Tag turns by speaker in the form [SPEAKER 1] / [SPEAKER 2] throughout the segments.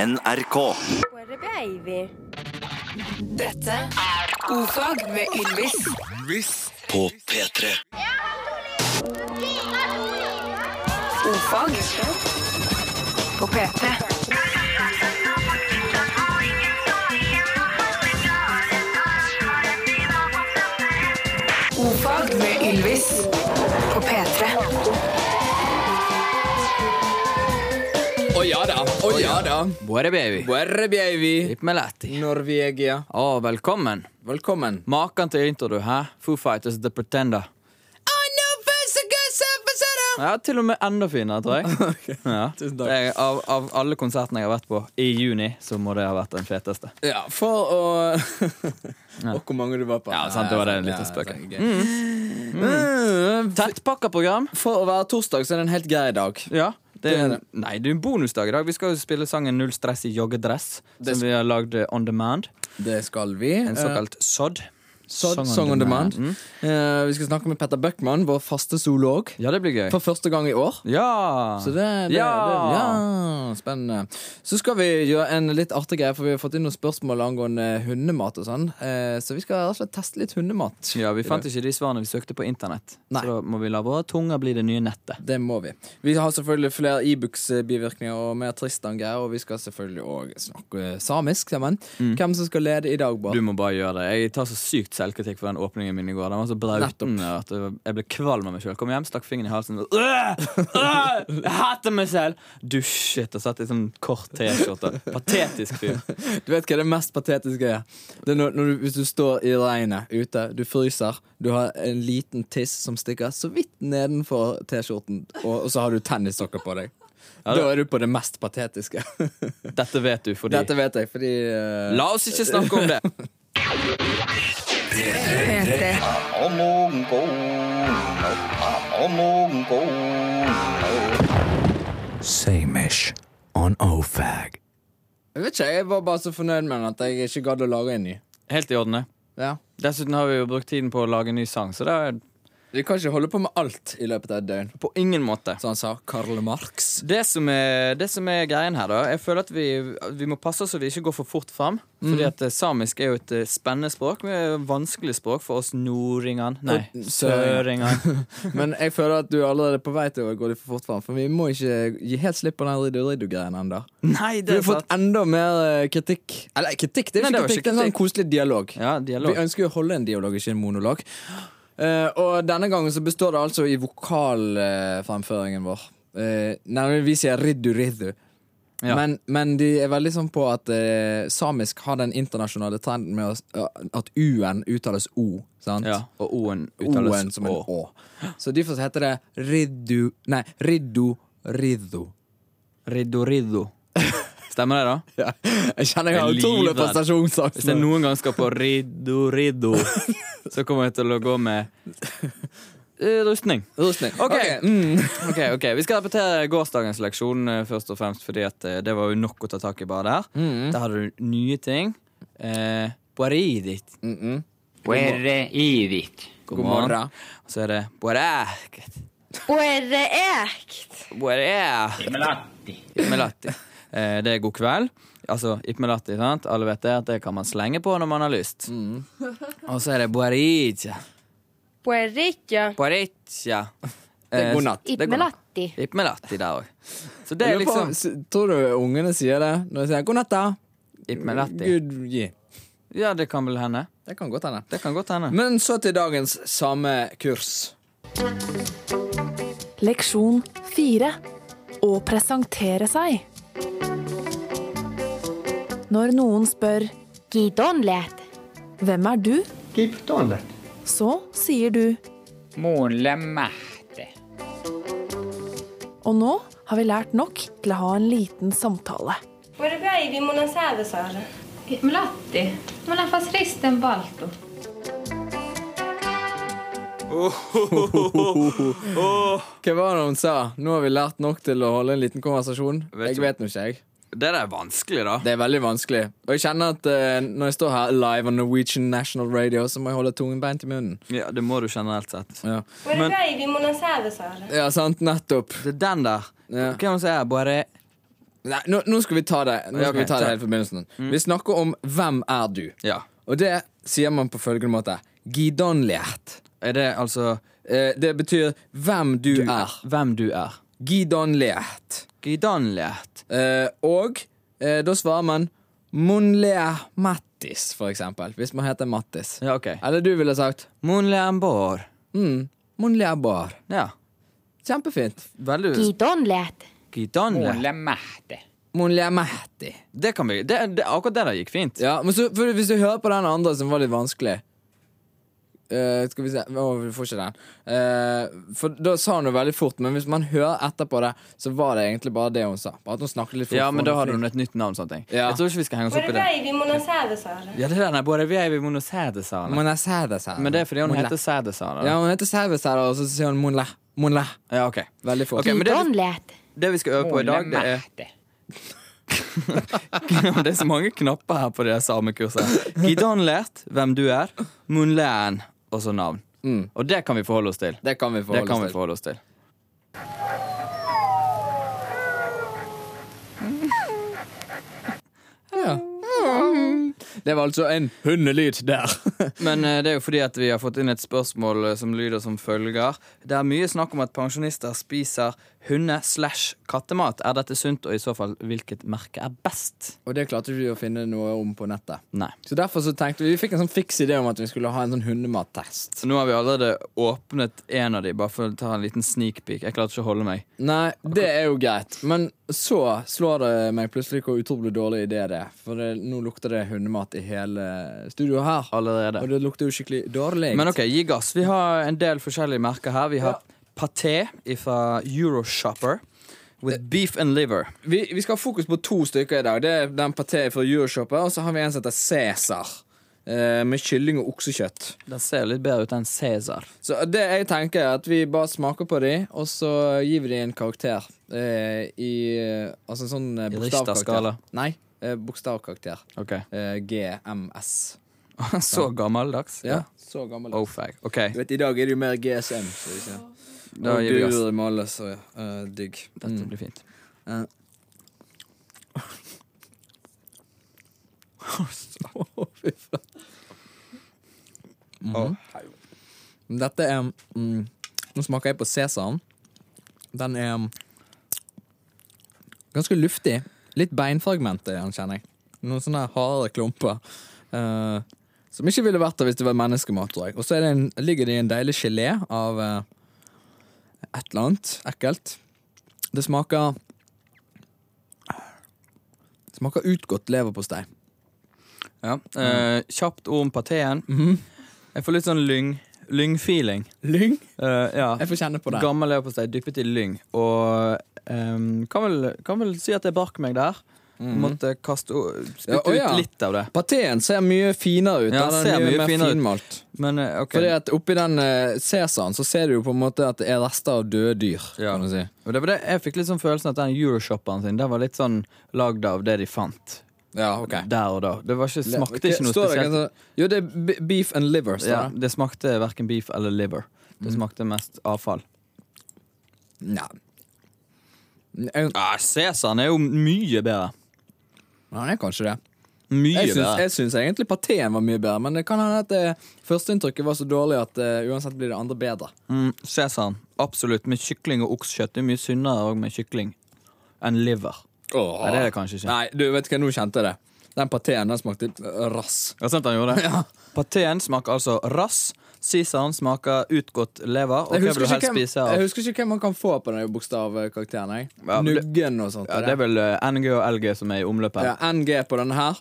[SPEAKER 1] NRK.
[SPEAKER 2] Dette er Godfag med Ylvis.
[SPEAKER 1] På P3.
[SPEAKER 2] Godfag på P3. Godfag med Ylvis på P3.
[SPEAKER 3] Å ja da. Å ja da.
[SPEAKER 4] Buere baby.
[SPEAKER 3] Buerre bjevi.
[SPEAKER 4] Litt med lætti.
[SPEAKER 3] Norvegia.
[SPEAKER 4] Å, velkommen.
[SPEAKER 3] Velkommen.
[SPEAKER 4] Maken til intro, du, hæ? Foo Fighters The Pretender. Ja, til og med enda finere, tror jeg. Ja.
[SPEAKER 3] Tusen takk.
[SPEAKER 4] Det er, av, av alle konsertene jeg har vært på i juni, så må det ha vært den feteste.
[SPEAKER 3] Ja, for å Og hvor mange du var på.
[SPEAKER 4] Ja, sant, det var det en liten
[SPEAKER 3] Ja,
[SPEAKER 4] spøk.
[SPEAKER 3] sant, gøy. Mm.
[SPEAKER 4] Tettpakka program.
[SPEAKER 3] For å være torsdag, så er det en helt grei dag.
[SPEAKER 4] Ja. Det
[SPEAKER 3] Det er
[SPEAKER 4] er,
[SPEAKER 3] det.
[SPEAKER 4] nei, det er en bonusdag i dag. Vi skal jo spille sangen Null stress i joggedress,
[SPEAKER 3] Det
[SPEAKER 4] som vi har lagd eh, on demand.
[SPEAKER 3] Det skal vi. Eh,
[SPEAKER 4] En såkalt SOD.
[SPEAKER 3] Sod, Song on Demand.
[SPEAKER 4] Mm.
[SPEAKER 3] Eh, vi skal snakke med Petter Bøckmann, vår faste zoolog,
[SPEAKER 4] Ja, det blir gøy.
[SPEAKER 3] for første gang i år.
[SPEAKER 4] Ja!
[SPEAKER 3] Så det, det,
[SPEAKER 4] ja!
[SPEAKER 3] Det, ja, Spennende. Så skal vi gjøre en litt artig greie, for vi har fått inn noen spørsmål angående hundemat. og sånn Eh, Så vi skal rett og slett teste litt hundemat.
[SPEAKER 4] Ja, Vi fant ikke de svarene vi søkte på internett.
[SPEAKER 3] Nei.
[SPEAKER 4] Så da må vi la våre tunger bli det nye nettet.
[SPEAKER 3] Det må vi. Vi har selvfølgelig flere Ibux-bivirkninger og mer Tristan-greier, og vi skal selvfølgelig òg snakke eh, samisk sammen. Hvem som skal lede i dag,
[SPEAKER 4] Mm. Du
[SPEAKER 3] Bård?
[SPEAKER 4] må bare gjøre det. Jeg tar så sykt selvkritikk for den åpningen min i går. Den var så brautende at jeg- jeg ble kvalm av meg sjøl. Kom hjem, stakk fingeren i halsen. og- Øh! Øh! Jeg hater meg selv! Dusjet og satt i sånn kort T-skjorte. Patetisk fyr.
[SPEAKER 3] Du vet hva det mest patetiske er? Det er når, når du, hvis du står i regnet ute, du fryser, du har en liten tiss som stikker så vidt nedenfor T-skjorten, og, og så har du tennissokker på deg.
[SPEAKER 4] det-
[SPEAKER 3] Da er du på det mest patetiske.
[SPEAKER 4] Dette vet du fordi
[SPEAKER 3] Dette vet jeg, fordi eh,
[SPEAKER 4] La oss ikke snakke om det!
[SPEAKER 2] P3.
[SPEAKER 3] Samish on OFAG. Jeg vet ikke, jeg var bare så fornøyd med den at jeg ikke gadd å lage en ny.
[SPEAKER 4] Helt i orden, det.
[SPEAKER 3] Ja.
[SPEAKER 4] Dessuten har vi jo brukt tiden på å lage en ny sang, så det er
[SPEAKER 3] Vi kan ikke holde på med alt i løpet av et døgn,
[SPEAKER 4] på ingen måte
[SPEAKER 3] som han sa Karl Marx.
[SPEAKER 4] Det som, er, det som er greien her, da Jeg føler at vi, vi må passe oss så vi ikke går for fort fram. Fordi at eh, samisk er jo et eh, spennende språk. Men vanskelig språk for oss nordingene. Nei,
[SPEAKER 3] Og søringene.
[SPEAKER 4] søringene.
[SPEAKER 3] Men jeg føler at du er allerede på vei til å gå litt for fort fram, for vi må ikke gi helt slipp på den riddu-riddu-greien ennå.
[SPEAKER 4] Nei,
[SPEAKER 3] Vi
[SPEAKER 4] det
[SPEAKER 3] har
[SPEAKER 4] er
[SPEAKER 3] fått
[SPEAKER 4] sant.
[SPEAKER 3] enda mer eh, kritikk. Eller kritikk, det er jo
[SPEAKER 4] Nei,
[SPEAKER 3] ikke
[SPEAKER 4] det var
[SPEAKER 3] kritikk,
[SPEAKER 4] ikke
[SPEAKER 3] det er en sånn
[SPEAKER 4] kritikk.
[SPEAKER 3] koselig dialog.
[SPEAKER 4] Ja,
[SPEAKER 3] Vi
[SPEAKER 4] dialog.
[SPEAKER 3] ønsker jo å holde en dialog, ikke en monolog. Eh, og denne gangen så består det altså i vokalfremføringen vår. Eh, Nærmere vi sier riddu riddu.
[SPEAKER 4] Ja.
[SPEAKER 3] Men, men de er veldig sånn på at eh, samisk har den internasjonale trenden med å- at u-en uttales o. Sant?
[SPEAKER 4] Ja, og o-en
[SPEAKER 3] O-en
[SPEAKER 4] uttales
[SPEAKER 3] som en
[SPEAKER 4] å.
[SPEAKER 3] å. Så derfor heter det riddu Nei, riddu riddu.
[SPEAKER 4] Riddo, riddo. Stemmer det, da?
[SPEAKER 3] Ja. Jeg kjenner jeg har
[SPEAKER 4] Jeg er
[SPEAKER 3] utrolig
[SPEAKER 4] livredd.
[SPEAKER 3] prestasjonsangst.
[SPEAKER 4] Hvis jeg
[SPEAKER 3] nå.
[SPEAKER 4] noen gang skal på riddo, riddo, så kommer jeg til å gå med eh, rustning.
[SPEAKER 3] Rustning.
[SPEAKER 4] Ok.
[SPEAKER 3] Ok, Mm.
[SPEAKER 4] Ok, ok, Vi skal repetere gårsdagens leksjon, eh, først og fremst fordi at eh, det var jo nok å ta tak i bare der.
[SPEAKER 3] Mm.
[SPEAKER 4] Der hadde du nye ting. Eh, Buaridit.
[SPEAKER 3] Mm -mm.
[SPEAKER 5] Puerre idit.
[SPEAKER 3] God morgen.
[SPEAKER 4] Og så er det buarækt.
[SPEAKER 6] Buerreekt.
[SPEAKER 4] Buarækt.
[SPEAKER 5] Melatti.
[SPEAKER 4] Ipmelatti. Eh, det er god kveld. Altså ipmelatti, sant? Alle vet det at det kan man slenge på når man har lyst.
[SPEAKER 3] Mm.
[SPEAKER 4] Og så er det buaridja.
[SPEAKER 6] Buerrikja.
[SPEAKER 4] Buaritja.
[SPEAKER 3] Det er god natt.
[SPEAKER 4] Eh, Det er god natt.
[SPEAKER 6] Ipmelatti.
[SPEAKER 4] Ipmelatti der òg. Så det
[SPEAKER 3] Jeg
[SPEAKER 4] er
[SPEAKER 3] lurer på,
[SPEAKER 4] liksom
[SPEAKER 3] s- Tror du ungene sier det når de sier 'god natt', da?
[SPEAKER 4] Ipmelatti.
[SPEAKER 3] Gud gi.
[SPEAKER 4] Ja, det kan vel hende.
[SPEAKER 3] Det kan godt hende.
[SPEAKER 4] Det kan godt hende.
[SPEAKER 3] Men så til dagens samekurs.
[SPEAKER 7] Leksjon 4. Å presentere seg. Når noen spør
[SPEAKER 6] Gidonlet.
[SPEAKER 7] 'Hvem er du?', så sier du
[SPEAKER 5] Mole mahte.
[SPEAKER 7] 'Og nå har vi lært nok til å ha en liten samtale'.
[SPEAKER 6] Hvor vei vi må nå sæve, sa det.
[SPEAKER 8] Mlatti. Men den fast risten balto.
[SPEAKER 3] Hva var det hun sa? Nå har vi lært nok til å holde en liten konversasjon. jeg
[SPEAKER 4] du-
[SPEAKER 3] vet nå ikke, jeg.
[SPEAKER 4] Det der er vanskelig, da.
[SPEAKER 3] Det er veldig vanskelig. Og jeg kjenner at eh, når jeg står her live on Norwegian National Radio, så må jeg holde tungen beint i munnen.
[SPEAKER 4] Ja, Det må du generelt sett.
[SPEAKER 3] Ja,
[SPEAKER 6] Hvor vei vi må nå sæve, sa det.
[SPEAKER 3] ja sant? Nettopp.
[SPEAKER 4] Det er den der.
[SPEAKER 3] Ja.
[SPEAKER 4] Hva er det hun sier? Bare
[SPEAKER 3] Nei, nå, nå skal vi ta det Nå skal
[SPEAKER 4] ok,
[SPEAKER 3] vi ta det
[SPEAKER 4] ta. Mm.
[SPEAKER 3] helt fra begynnelsen. Vi snakker om 'Hvem er du?'
[SPEAKER 4] Ja.
[SPEAKER 3] Og det sier man på følgende måte. Gidanlighet.
[SPEAKER 4] Er det altså
[SPEAKER 3] Eh, det betyr hvem du, er.
[SPEAKER 4] Hvem du er.
[SPEAKER 3] Gidanlighet.
[SPEAKER 4] Gidanlighet.
[SPEAKER 3] Eh, og eh, da svarer man Monlea Mattis, for eksempel. Hvis man heter Mattis.
[SPEAKER 4] Ja, OK.
[SPEAKER 3] Eller du ville sagt
[SPEAKER 4] Monlambor.
[SPEAKER 3] mm, Monlea Bar.
[SPEAKER 4] Ja.
[SPEAKER 3] Kjempefint.
[SPEAKER 4] Veldig
[SPEAKER 9] Gidanlighet.
[SPEAKER 4] Gidanlighet.
[SPEAKER 5] Målemæte.
[SPEAKER 3] Monlea Matti.
[SPEAKER 4] Det kan vi det, det, Akkurat det der gikk fint.
[SPEAKER 3] Ja, men så, for hvis du hører på den andre som var litt vanskelig Eh, Skal vi se Å, vi får ikke den. Eh, for da sa hun det veldig fort, men hvis man hører etterpå det, så var det egentlig bare det hun sa. Bare at hun snakket litt fort.
[SPEAKER 4] Ja, men da hadde
[SPEAKER 3] flink.
[SPEAKER 4] hun et nytt navn. sånne ting
[SPEAKER 3] Ja.
[SPEAKER 4] Jeg tror ikke vi skal henge oss opp
[SPEAKER 6] Hvor
[SPEAKER 4] i det.
[SPEAKER 6] vei vi må sædesare?
[SPEAKER 4] Ja, det der, nei, både vi er vi monosæde, sa han.
[SPEAKER 3] Mon er sædes her.
[SPEAKER 4] Men det er fordi hun
[SPEAKER 3] Mon le-
[SPEAKER 4] heter Sæde, sa han.
[SPEAKER 3] Ja, hun heter Sæves her, og så sier hun Monle. Monle.
[SPEAKER 4] Ja, ok
[SPEAKER 3] Veldig fort.
[SPEAKER 4] Ok, men det,
[SPEAKER 9] Gidanlighet.
[SPEAKER 4] det vi skal øve på i dag, det er
[SPEAKER 5] Målemæte.
[SPEAKER 4] Det er så mange knapper her på det der samekurset. Gidanlært, hvem du er, Munlæn, og så navn. Og det kan vi forholde oss til.
[SPEAKER 3] Mm. Det kan vi
[SPEAKER 4] Det
[SPEAKER 3] forholde
[SPEAKER 4] kan vi
[SPEAKER 3] oss til.
[SPEAKER 4] forholde oss til.
[SPEAKER 3] Det var altså en hundelyd der.
[SPEAKER 4] Men eh, det er jo fordi at vi har fått inn et spørsmål eh, som lyder som følger. Det er mye snakk om at pensjonister spiser hunde- slash kattemat. Er dette sunt, og i så fall hvilket merke er best?
[SPEAKER 3] og det klarte vi å finne noe om på nettet.
[SPEAKER 4] Nei.
[SPEAKER 3] Så derfor så tenkte vi Vi fikk en sånn fiks idé om at vi skulle ha en sånn hundemattest.
[SPEAKER 4] Så nå har vi allerede åpnet en av de, bare for å ta en liten sneak peek. Jeg klarte ikke å holde meg.
[SPEAKER 3] Nei, det er jo greit, men så slår det meg plutselig hvor utrolig dårlig idé det er. For det, nå lukter det hundemat i hele studioet her.
[SPEAKER 4] Allerede.
[SPEAKER 3] Og det lukter jo skikkelig dårlig.
[SPEAKER 4] Men ok, gi gass. Vi har en del forskjellige merker her. Vi har Paté fra Euroshopper. With beef and liver.
[SPEAKER 3] vi, vi skal ha fokus på to stykker i dag. Det er den partiet fra Euroshopper, og så har vi en som heter Cæsar. eh, Med kylling og oksekjøtt.
[SPEAKER 4] Den ser litt bedre ut enn Cæsar.
[SPEAKER 3] Så det jeg tenker er at vi bare smaker på de, og så gir vi de en karakter. Eh, I eh, Altså en sånn eh, bokstavkarakter.
[SPEAKER 4] Richter-skala.
[SPEAKER 3] Nei, eh, bokstavkarakter.
[SPEAKER 4] Ok
[SPEAKER 3] Eh, GMS.
[SPEAKER 4] Så gammeldags.
[SPEAKER 3] Ja, så gammel.
[SPEAKER 4] Oh, fag. Ok,
[SPEAKER 3] Du vet, I dag er det jo mer GSM. Så vi ser.
[SPEAKER 4] da gir vi gass.
[SPEAKER 3] Durer med alle, så eh, digg.
[SPEAKER 4] Dette blir fint.
[SPEAKER 3] Fy faen. Dette er mm, Nå smaker jeg på sesam. Den er mm, ganske luftig. Litt beinfragment i den, kjenner jeg. Noen sånne harde klumper. eh, som ikke ville vært der hvis det var menneskemat, tror jeg. Og så er det en, ligger det i en deilig gelé av eh, et eller annet ekkelt. Det smaker Det smaker utgått leverpostei.
[SPEAKER 4] Ja.
[SPEAKER 3] Mm.
[SPEAKER 4] eh, kjapt ord om patéen.
[SPEAKER 3] Mhm.
[SPEAKER 4] Jeg får litt sånn lyng. Lyng-feeling.
[SPEAKER 3] Lyng?
[SPEAKER 4] Eh, ja.
[SPEAKER 3] Jeg får kjenne på det.
[SPEAKER 4] Gammel leverpostei dyppet i lyng. Og ehm, kan, vel, kan vel si at jeg brakk meg der. Måtte kaste
[SPEAKER 3] Ja,
[SPEAKER 4] Spytte
[SPEAKER 3] å, Mhm. ja.
[SPEAKER 4] ut litt av det.
[SPEAKER 3] Patéen ser mye finere ut.
[SPEAKER 4] Ja,
[SPEAKER 3] den
[SPEAKER 4] ser
[SPEAKER 3] er mye,
[SPEAKER 4] mye
[SPEAKER 3] mer
[SPEAKER 4] finere ut.
[SPEAKER 3] finmalt.
[SPEAKER 4] Men eh, ok
[SPEAKER 3] Fordi at Oppi den uh, sesamen så ser du jo på en måte at det er rester av døde dyr.
[SPEAKER 4] Ja.
[SPEAKER 3] Kan du si.
[SPEAKER 4] Og det var det, jeg fikk litt sånn følelsen at den euroshopperen sin Den var litt sånn lagd av det de fant.
[SPEAKER 3] ja, ok
[SPEAKER 4] Der og da. Det var ikke, smakte
[SPEAKER 3] Ok,
[SPEAKER 4] ikke noe
[SPEAKER 3] står det
[SPEAKER 4] spesielt.
[SPEAKER 3] ikke sånn- Jo, det er be- beef and liver. Står
[SPEAKER 4] ja,
[SPEAKER 3] det.
[SPEAKER 4] det smakte verken beef eller liver. Det
[SPEAKER 3] Mhm.
[SPEAKER 4] smakte mest avfall.
[SPEAKER 3] Nei. Jeg,
[SPEAKER 4] Ah, Cæsaren er jo mye bedre.
[SPEAKER 3] han er kanskje det.
[SPEAKER 4] Mye
[SPEAKER 3] Jeg syns,
[SPEAKER 4] bedre.
[SPEAKER 3] jeg syns egentlig patéen var mye bedre, men det kan hende at det førsteinntrykket var så dårlig at eh, uansett blir det andre bedre.
[SPEAKER 4] Mm, Cæsaren. Absolutt. Med kykling og oksekjøtt. Det er mye sunnere òg med kykling enn liver. Nei, det er det kanskje ikke.
[SPEAKER 3] Nei, du vet hva, nå kjente jeg det. Den patéen den smakte eh, rass.
[SPEAKER 4] Ja, sant han gjorde det? Patéen smaker altså rass. Cæsaren smaker utgått lever. Og
[SPEAKER 3] Jeg
[SPEAKER 4] hva vil
[SPEAKER 3] husker,
[SPEAKER 4] du helst
[SPEAKER 3] ikke hvem,
[SPEAKER 4] spise
[SPEAKER 3] jeg
[SPEAKER 4] av?
[SPEAKER 3] husker ikke hvem man kan få på den bokstavkarakteren. Jeg.
[SPEAKER 4] Ja, men det-
[SPEAKER 3] Nuggen og sånt.
[SPEAKER 4] Ja,
[SPEAKER 3] er
[SPEAKER 4] det er vel eh, NG og LG som er i omløpet.
[SPEAKER 3] ja, NG på denne her.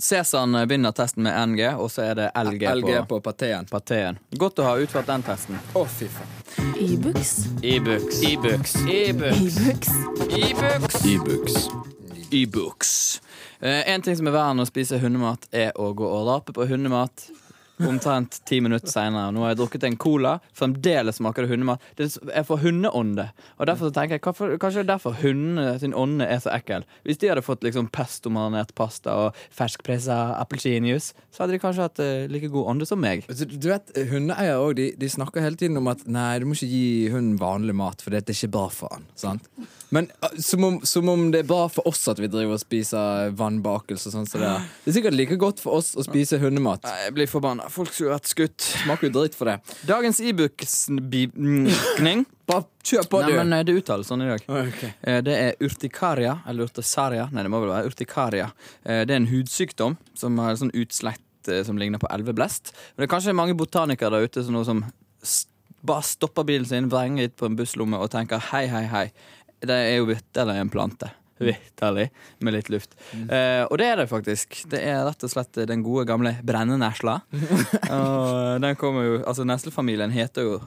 [SPEAKER 4] Cæsaren vinner testen med NG, og så er det LG,
[SPEAKER 3] LG
[SPEAKER 4] på,
[SPEAKER 3] på patéen. Å,
[SPEAKER 4] patéen. Godt å ha utført den testen.
[SPEAKER 3] fy faen.
[SPEAKER 7] Ibux,
[SPEAKER 4] E-books. E-books.
[SPEAKER 7] Ibux,
[SPEAKER 4] E-books.
[SPEAKER 3] E-books.
[SPEAKER 4] E-books. Eh, en ting som er verre enn å spise hundemat, er å gå og rape på hundemat. Omtrent ti minutter seinere. Nå har jeg drukket en cola. Fremdeles smaker det hundemat. Det er s- Jeg får hundeånde. Og derfor så tenker jeg, hvorfor- Kanskje det er derfor hundene sin ånde er så ekkel. Hvis de hadde fått liksom pestomarinert pasta og ferskpressa appelsinjuice, så hadde de kanskje hatt eh, like god ånde som meg.
[SPEAKER 3] Altså, Du vet, Hundeeiere også, de, de snakker hele tiden om at Nei, du må ikke gi hunden vanlig mat, for det er ikke bra for han. Sant? Men eh, som om, som om det er bra for oss at vi driver og spiser vannbakelse og sånn. som det, er. det er sikkert like godt for oss å spise hundemat.
[SPEAKER 4] Nei, Jeg blir forbanna. Folk skulle vært skutt.
[SPEAKER 3] Smaker jo dritt for det.
[SPEAKER 4] Dagens e-book-kning
[SPEAKER 3] Bare kjør på,
[SPEAKER 4] Nei,
[SPEAKER 3] du!
[SPEAKER 4] men eh, det uttales sånn i dag.
[SPEAKER 3] Ok.
[SPEAKER 4] Eh, Det er urtikaria, eller urtisaria. Nei, det må vel være urtikaria. Eh, Det er en hudsykdom som har sånn utslett eh, som ligner på elveblest. Men det er kanskje mange botanikere der ute som, nå som s- bare stopper bilen sin, vrenger litt på en busslomme og tenker hei, hei, hei. Det er jo vitterlig en plante. Vitterlig. Med litt luft.
[SPEAKER 3] Mm.
[SPEAKER 4] Eh, og det er det faktisk. Det er rett og slett den gode gamle brennenesla. og den kommer jo Altså, neslefamilien heter jo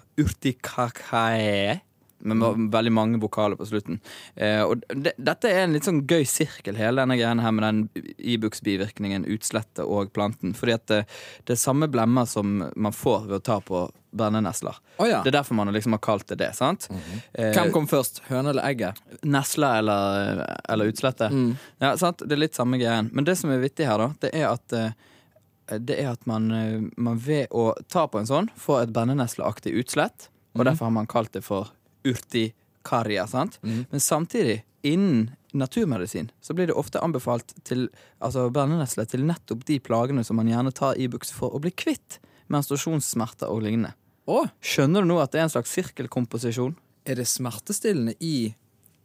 [SPEAKER 4] urtikakae. Med ma- veldig mange vokaler på slutten. Eh, og det- dette er en litt sånn gøy sirkel, hele denne greien her med den Ibux-bivirkningen, utslettet og planten. Fordi at det, det er samme blemmer som man får ved å ta på brennenesler.
[SPEAKER 3] Å ja. Mhm.
[SPEAKER 4] Det er derfor man liksom har kalt det det. sant? Eh,
[SPEAKER 3] Hvem kom først, høna eller egget?
[SPEAKER 4] Nesla eller, eller utslettet.
[SPEAKER 3] Mm.
[SPEAKER 4] Ja, sant? Det er litt samme greien. Men det som er vittig her, da, det er at eh, det er at man, eh, man ved å ta på en sånn, får et brennenesleaktig utslett. Og
[SPEAKER 3] Mhm.
[SPEAKER 4] derfor har man kalt det for urtikaria. sant?
[SPEAKER 3] Mhm.
[SPEAKER 4] Men samtidig, innen naturmedisin, så blir det ofte anbefalt til altså brennenesle til nettopp de plagene som man gjerne tar Ibux for å bli kvitt. Menstruasjonssmerter og lignende.
[SPEAKER 3] Å,
[SPEAKER 4] Skjønner du nå at det er en slags sirkelkomposisjon
[SPEAKER 3] er det smertestillende i,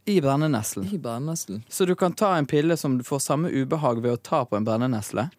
[SPEAKER 4] i brenneneslen?
[SPEAKER 3] i brenneslen?
[SPEAKER 4] Så du kan ta en pille som du får samme ubehag ved å ta på en brennenesle.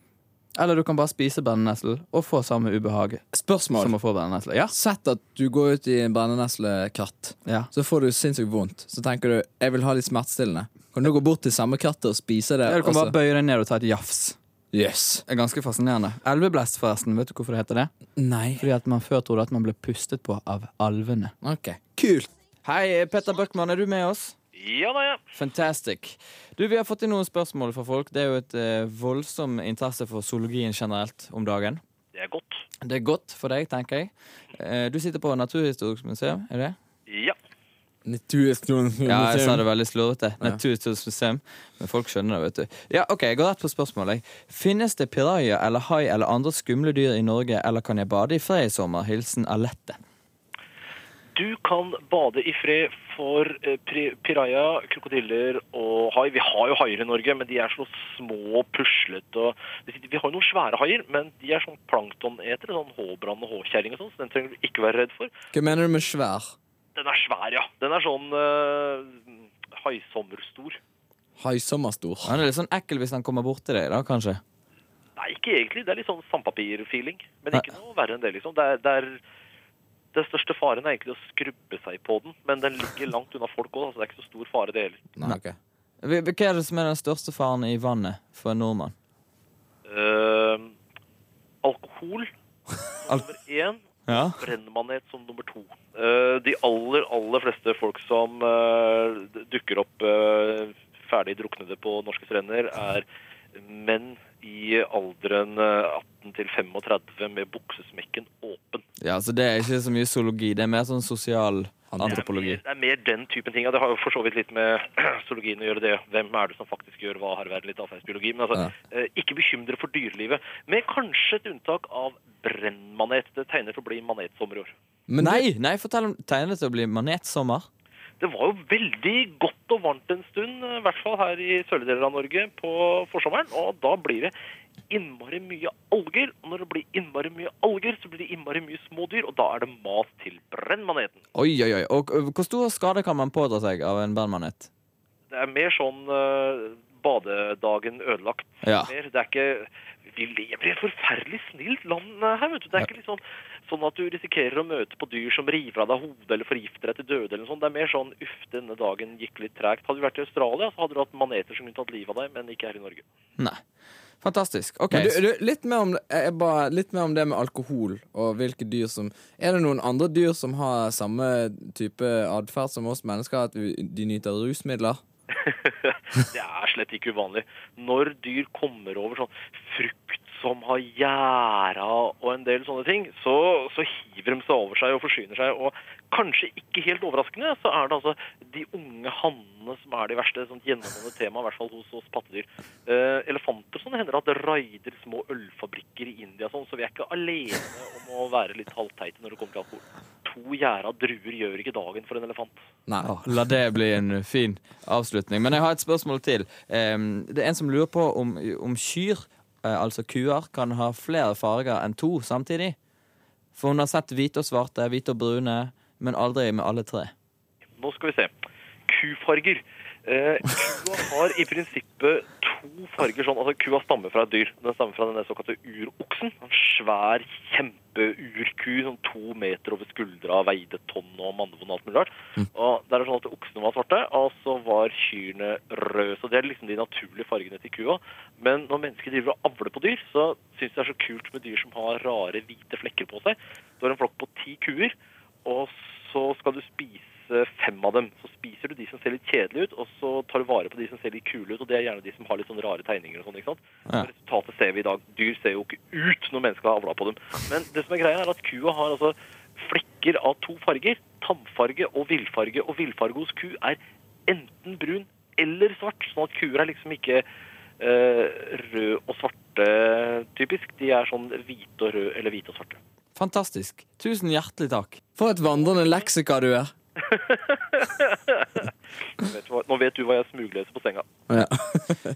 [SPEAKER 4] Eller du kan bare spise brennenesle og få samme ubehag som
[SPEAKER 3] Spørsmål.
[SPEAKER 4] å få brennenesle. Ja.
[SPEAKER 3] Sett at du går ut i en brenneneslekatt.
[SPEAKER 4] ja.
[SPEAKER 3] Så får du sinnssykt vondt. Så tenker du jeg vil ha litt smertestillende. Kan du gå bort til samme kattet og spise det?
[SPEAKER 4] Du kan
[SPEAKER 3] og så-
[SPEAKER 4] bare bøye deg ned og ta et jafs.
[SPEAKER 3] yes.
[SPEAKER 4] Det er ganske fascinerende. Elveblest, forresten. Vet du hvorfor det heter det?
[SPEAKER 3] Nei.
[SPEAKER 4] Fordi at man før trodde at man ble pustet på av alvene.
[SPEAKER 3] Ok. Kult.
[SPEAKER 4] Hei, Petter Bøckmann, er du med oss?
[SPEAKER 9] Ja da, ja.
[SPEAKER 4] Fantastic. Du, Vi har fått inn noen spørsmål fra folk. Det er jo et eh, voldsom interesse for zoologien generelt om dagen.
[SPEAKER 9] Det er godt.
[SPEAKER 4] Det er godt for deg, tenker jeg. Eh, du sitter på Naturhistorisk museum, er det?
[SPEAKER 9] Ja.
[SPEAKER 4] Ja, jeg sa det veldig slurvete. Naturhistorisk museum. Men folk skjønner det, vet du. Ja, ok, Jeg går rett på spørsmålet. jeg. Finnes det piraja eller hai eller andre skumle dyr i Norge, eller kan jeg bade i fred i sommer? Hilsen Alette.
[SPEAKER 9] Du kan bade i fred for eh, pri- piraja, krokodiller og hai. Vi har jo haier i Norge, men de er så små og puslete. og- Vi har jo noen svære haier, men de er sånn planktonetere, sånn håbrann og håkjerring og sånn, så den trenger du ikke være redd for.
[SPEAKER 3] Hva mener du med svær?
[SPEAKER 9] Den er svær, ja. Den er sånn eh, haisommerstor.
[SPEAKER 3] Haisommerstor.
[SPEAKER 4] Han er litt sånn ekkel hvis han kommer bort til deg, da, kanskje.
[SPEAKER 9] Nei, ikke egentlig. Det er litt sånn sandpapir-feeling. Men ikke noe verre enn det, liksom. Det er, det er den største faren er egentlig å skrubbe seg på den, men den ligger langt unna folk òg, så det er ikke så stor fare, det heller.
[SPEAKER 3] Nei, ok.
[SPEAKER 4] Hva hva er det som er den største faren i vannet for en nordmann?
[SPEAKER 9] Ehm, alkohol som nummer én,
[SPEAKER 4] Ja.
[SPEAKER 9] brennmanet som nummer to. Eh, de aller, aller fleste folk som eh, d- dukker opp eh, ferdig druknede på norske strender, er menn i alderen eh, 18 til 35 med buksesmekken åpen.
[SPEAKER 4] ja, så Det er ikke så mye zoologi, det er mer sånn sosial antropologi.
[SPEAKER 9] Det er mer den typen ting. Ja, det har jo for så vidt litt med zoologien å gjøre det. Hvem er det som faktisk gjør hva her i verden? Litt atferdsbiologi. Men altså, eh, ikke bekymre dere for dyrelivet. Med kanskje et unntak av brennmanet. Det tegner til å bli manetsommer i år.
[SPEAKER 3] Men du-
[SPEAKER 4] nei, nei, fortell om tegner det til å bli manetsommer.
[SPEAKER 9] Det var jo veldig godt og varmt en stund, eh, i hvert fall her i sørlige deler av Norge på forsommeren. Og da blir det innmari mye alger. Og når det blir innmari mye alger, så blir det innmari mye smådyr. Og da er det mat til brennmaneten.
[SPEAKER 4] Oi, oi, oi. Og ø, hvor stor skade kan man pådra seg av en brennmanet?
[SPEAKER 9] Det er mer sånn eh, badedagen ødelagt.
[SPEAKER 4] Ja.
[SPEAKER 9] mer. Det er ikke Vi lever i et forferdelig snilt land eh, her, vet du. Det er ikke liksom sånn at du risikerer å møte på dyr som river av deg hodet eller forgifter deg til døde eller noe sånt. Det er mer sånn uff, denne dagen gikk litt tregt. Hadde du vært i Australia, så hadde du hatt maneter som kunne tatt livet av deg, men ikke her i Norge.
[SPEAKER 4] Nei. Fantastisk. Ok,
[SPEAKER 3] Men du, du, litt, mer om, det- jeg bare, litt mer om det med alkohol og hvilke dyr som Er det noen andre dyr som har samme type atferd som oss mennesker, at vi, de nyter rusmidler?
[SPEAKER 9] Det er slett ikke uvanlig. Når dyr kommer over sånn frukt som har gjæra og en del sånne ting, så, så hiver de seg over seg og forsyner seg. Og kanskje ikke helt overraskende, så er det altså de unge hannene som er de verste. Sånt gjennomgående tema, i hvert fall hos oss pattedyr. Eh, elefanter og sånn hender det at det raider små ølfabrikker i India og sånn, så vi er ikke alene om å være litt halvteite når det kommer til alkohol. To gjæra druer gjør ikke dagen for en elefant.
[SPEAKER 3] Nei.
[SPEAKER 4] La det bli en fin avslutning. Men jeg har et spørsmål til. Em, det er en som lurer på om, om kyr, eh, altså kuer, kan ha flere farger enn to samtidig. For hun har sett hvite og svarte, hvite og brune, men aldri med alle tre.
[SPEAKER 9] Nå skal vi se. Kufarger. Eh, kua har i prinsippet to farger sånn. Altså, kua stammer fra et dyr. Den stammer fra den såkalte uroksen. En svær kjempeurku, sånn to meter over skuldra, veide tonn og mannevond og alt mulig rart. Og der er det sånn at oksene var svarte, og så var kyrne røde. Så det er liksom de naturlige fargene til kua. Men når mennesker driver og avler på dyr, så syns de det er så kult med dyr som har rare hvite flekker på seg. Du har en flokk på ti kuer, og så skal du spise eh, fem av dem. Så spiser du de som ser litt kjedelige ut, og så tar du vare på de som ser litt kule ut, og det er gjerne de som har litt sånne rare tegninger og sånn, ikke sant?
[SPEAKER 4] Ja.
[SPEAKER 9] Resultatet ser vi i dag. Dyr ser jo ikke ut når mennesker har avla på dem. Men det som er greia er at kua har altså flekker av to farger. Tannfarge og villfarge, og villfarge hos ku er enten brun eller svart, sånn at kuer er liksom ikke eh, rød og svarte typisk. De er sånn hvite og rød eller hvite og svarte.
[SPEAKER 4] Fantastisk. Tusen hjertelig takk.
[SPEAKER 3] For et vandrende leksika du er.
[SPEAKER 9] Vet du hva? Nå vet du hva jeg smugleser på senga.
[SPEAKER 3] Ja.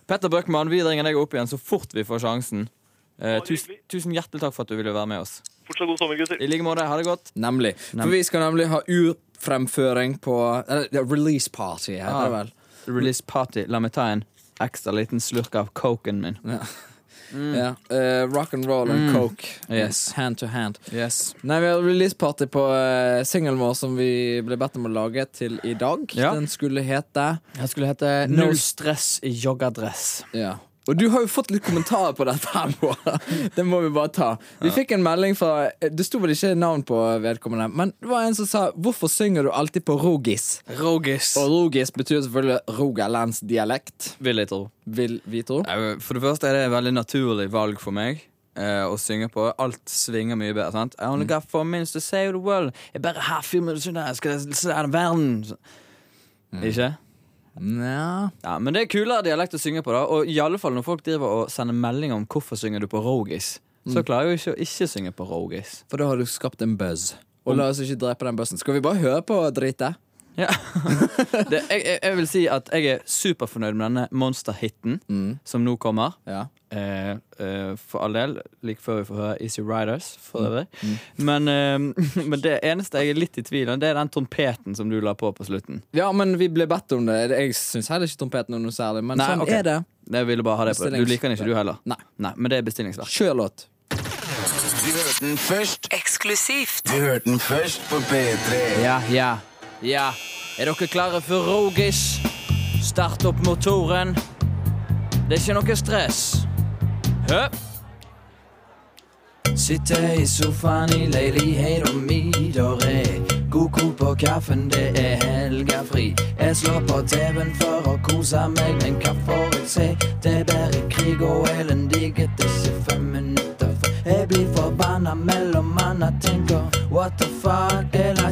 [SPEAKER 4] Petter Bøckmann, vi ringer deg opp igjen så fort vi får sjansen. Eh,
[SPEAKER 9] Bare
[SPEAKER 4] tusen,
[SPEAKER 9] hyggelig.
[SPEAKER 4] tusen hjertelig takk for at du ville være med oss.
[SPEAKER 9] Fortsatt god sommer, gutter.
[SPEAKER 4] I like måte. Ha det godt.
[SPEAKER 3] Nemlig. For vi skal nemlig ha urfremføring på eller, det er Release party, heter
[SPEAKER 4] Ja.
[SPEAKER 3] det vel.
[SPEAKER 4] Release party. La meg ta en ekstra liten slurk av coken min.
[SPEAKER 3] Ja. Eh, rock and roll and coke.
[SPEAKER 4] Yes.
[SPEAKER 3] Hand to hand.
[SPEAKER 4] Yes.
[SPEAKER 3] Nei, vi har releaseparty på uh, singelen vår som vi ble bedt om å lage til i dag.
[SPEAKER 4] Ja.
[SPEAKER 3] Den skulle hete
[SPEAKER 4] Jeg skulle hete
[SPEAKER 3] Null
[SPEAKER 4] stress joggedress.
[SPEAKER 3] Ja. Og du har jo fått litt kommentarer på dette. her Bård. Det må vi bare ta. Vi fikk en melding fra eh, Det sto vel ikke navn på vedkommende, men det var en som sa 'Hvorfor synger du alltid på rogis?'
[SPEAKER 4] Rogis.
[SPEAKER 3] Og rogis betyr selvfølgelig rogalandsdialekt,
[SPEAKER 4] Vil jeg tro.
[SPEAKER 3] vil vi tro.
[SPEAKER 4] Nei, For det første er det et veldig naturlig valg for meg eh, å synge på. Alt svinger mye bedre. sant? I only got four minutes to save the world. Jeg bare har fire minutter siden jeg skal slære verden. Så- Ikke?
[SPEAKER 3] Nja
[SPEAKER 4] Ja, Men det er kulere dialekt å synge på, da. Og i alle fall når folk driver og sender meldinger om hvorfor synger du på rogis, så klarer jeg jo ikke å ikke synge på rogis.
[SPEAKER 3] For da har du skapt en buzz. Og la oss ikke drepe den buzzen. Skal vi bare høre på dritet?
[SPEAKER 4] Ja. det, jeg, jeg, jeg vil si at jeg er superfornøyd med denne monsterhiten som nå kommer.
[SPEAKER 3] Ja.
[SPEAKER 4] Eh, eh, for all del, like før vi får høre Easy Riders. For øvrig. Men, eh, men det eneste jeg er litt i tvil om, det er den trompeten som du la på på slutten.
[SPEAKER 3] Ja, men vi ble bedt om det. Jeg syns heller ikke trompeten er noe særlig, men sånn
[SPEAKER 4] ok.
[SPEAKER 3] er det.
[SPEAKER 4] Jeg ville bare ha det på. Du
[SPEAKER 3] Bestillings-
[SPEAKER 4] liker den ikke, du heller?
[SPEAKER 3] Nei.
[SPEAKER 4] men det er bestillingsverk.
[SPEAKER 3] Kjør låt.
[SPEAKER 1] Du hørte den først.
[SPEAKER 2] Eksklusivt.
[SPEAKER 1] Du hørte den først på P3.
[SPEAKER 4] Ja, ja, ja. Er dere klare for Rogis? Start opp motoren. Det er ikke noe stress. Hø! Sitter i sofaen i leiligheta mi. Der er god kok på kaffen, det er helgafri. Jeg slår på TV-en for å kose meg, men hva får jeg se? Det er bare krig og elendighet, det er ikke fem minutter for Jeg blir forbanna mellom anna tenker what the fuck? Jeg lar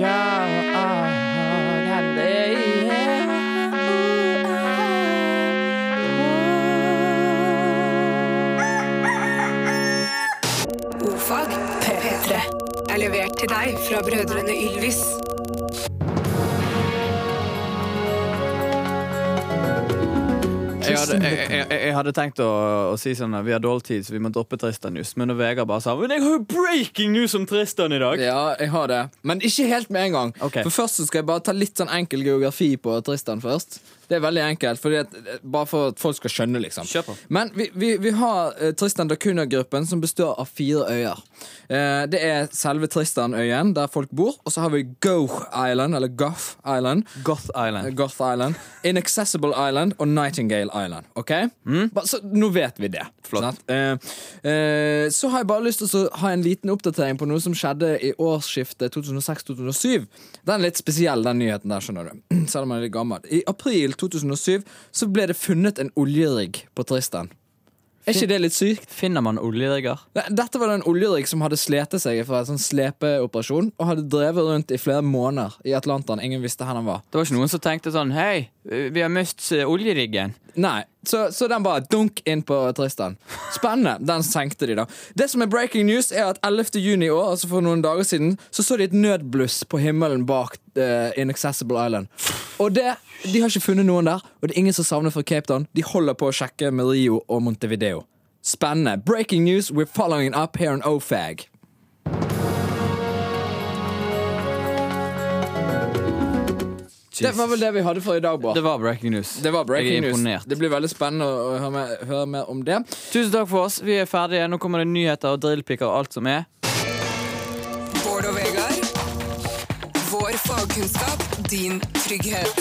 [SPEAKER 4] Ja, å, ja, det
[SPEAKER 2] Ordfag P3 er levert til deg fra brødrene Ylvis.
[SPEAKER 4] Jeg hadde, jeg, jeg, jeg hadde tenkt å, å si sånn at vi har dårlig tid, så vi må droppe Tristan News. Men når Vegard bare sa Men jeg har jo breaking news om Tristan i dag!
[SPEAKER 3] Ja, jeg har det. Men ikke helt med en gang.
[SPEAKER 4] Ok.
[SPEAKER 3] For først så skal jeg bare ta litt sånn enkel geografi på Tristan først. Det er veldig enkelt, fordi at, eh, bare for at folk skal skjønne, liksom.
[SPEAKER 4] Kjør på.
[SPEAKER 3] Men vi, vi, vi har eh, Tristan da Cunha-gruppen, som består av fire øyer. Eh, det er selve Tristan-øyen, der folk bor. Og så har vi Gough Island, eller Gough Island.
[SPEAKER 4] Goth Island.
[SPEAKER 3] Eh, Goth Island, Inaccessible Island og Nightingale Island. Ok? Ba- Så nå vet vi det.
[SPEAKER 4] Flott.
[SPEAKER 3] sant? Eh, eh, så har jeg bare lyst til å ha en liten oppdatering på noe som skjedde i årsskiftet 2006-2007. Den er litt spesiell, den nyheten der, skjønner du. Selv om den er litt gammel. I april april 2007 så ble det funnet en oljerigg på Tristan. Er ikke det litt sykt?
[SPEAKER 4] Finner man oljerigger?
[SPEAKER 3] Nei, Dette var en oljerigg som hadde sletet seg fra en sånn slepeoperasjon og hadde drevet rundt i flere måneder i Atlanteren. Ingen visste hvor den var.
[SPEAKER 4] Det var ikke noen som tenkte sånn Hei, vi har mistet oljeriggen.
[SPEAKER 3] Nei, så, så den bare dunk inn på Tristan. Spennende. Den senkte de, da. Det som er breaking news, er at 11. juni i år, altså for noen dager siden, så så de et nødbluss på himmelen bak eh, Inaccessible Island. Og det, de har ikke funnet noen der, og det er ingen som savner fra Cape Town. De holder på å sjekke med Rio og Montevideo. Spennende. Breaking news, we're following up here on OFAG. Det var vel det vi hadde for i dag, Bård.
[SPEAKER 4] Det var breaking news.
[SPEAKER 3] Det var breaking
[SPEAKER 4] Jeg er
[SPEAKER 3] news.
[SPEAKER 4] imponert.
[SPEAKER 3] Det blir veldig spennende å høre mer, høre mer om det.
[SPEAKER 4] Tusen takk for oss. Vi er ferdige. Nå kommer det nyheter og drillpiker og alt som er.
[SPEAKER 2] Bård og Vegard. Vår fagkunnskap, din trygghet.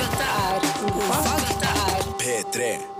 [SPEAKER 2] Dette er Ofag. Dette er
[SPEAKER 1] P3.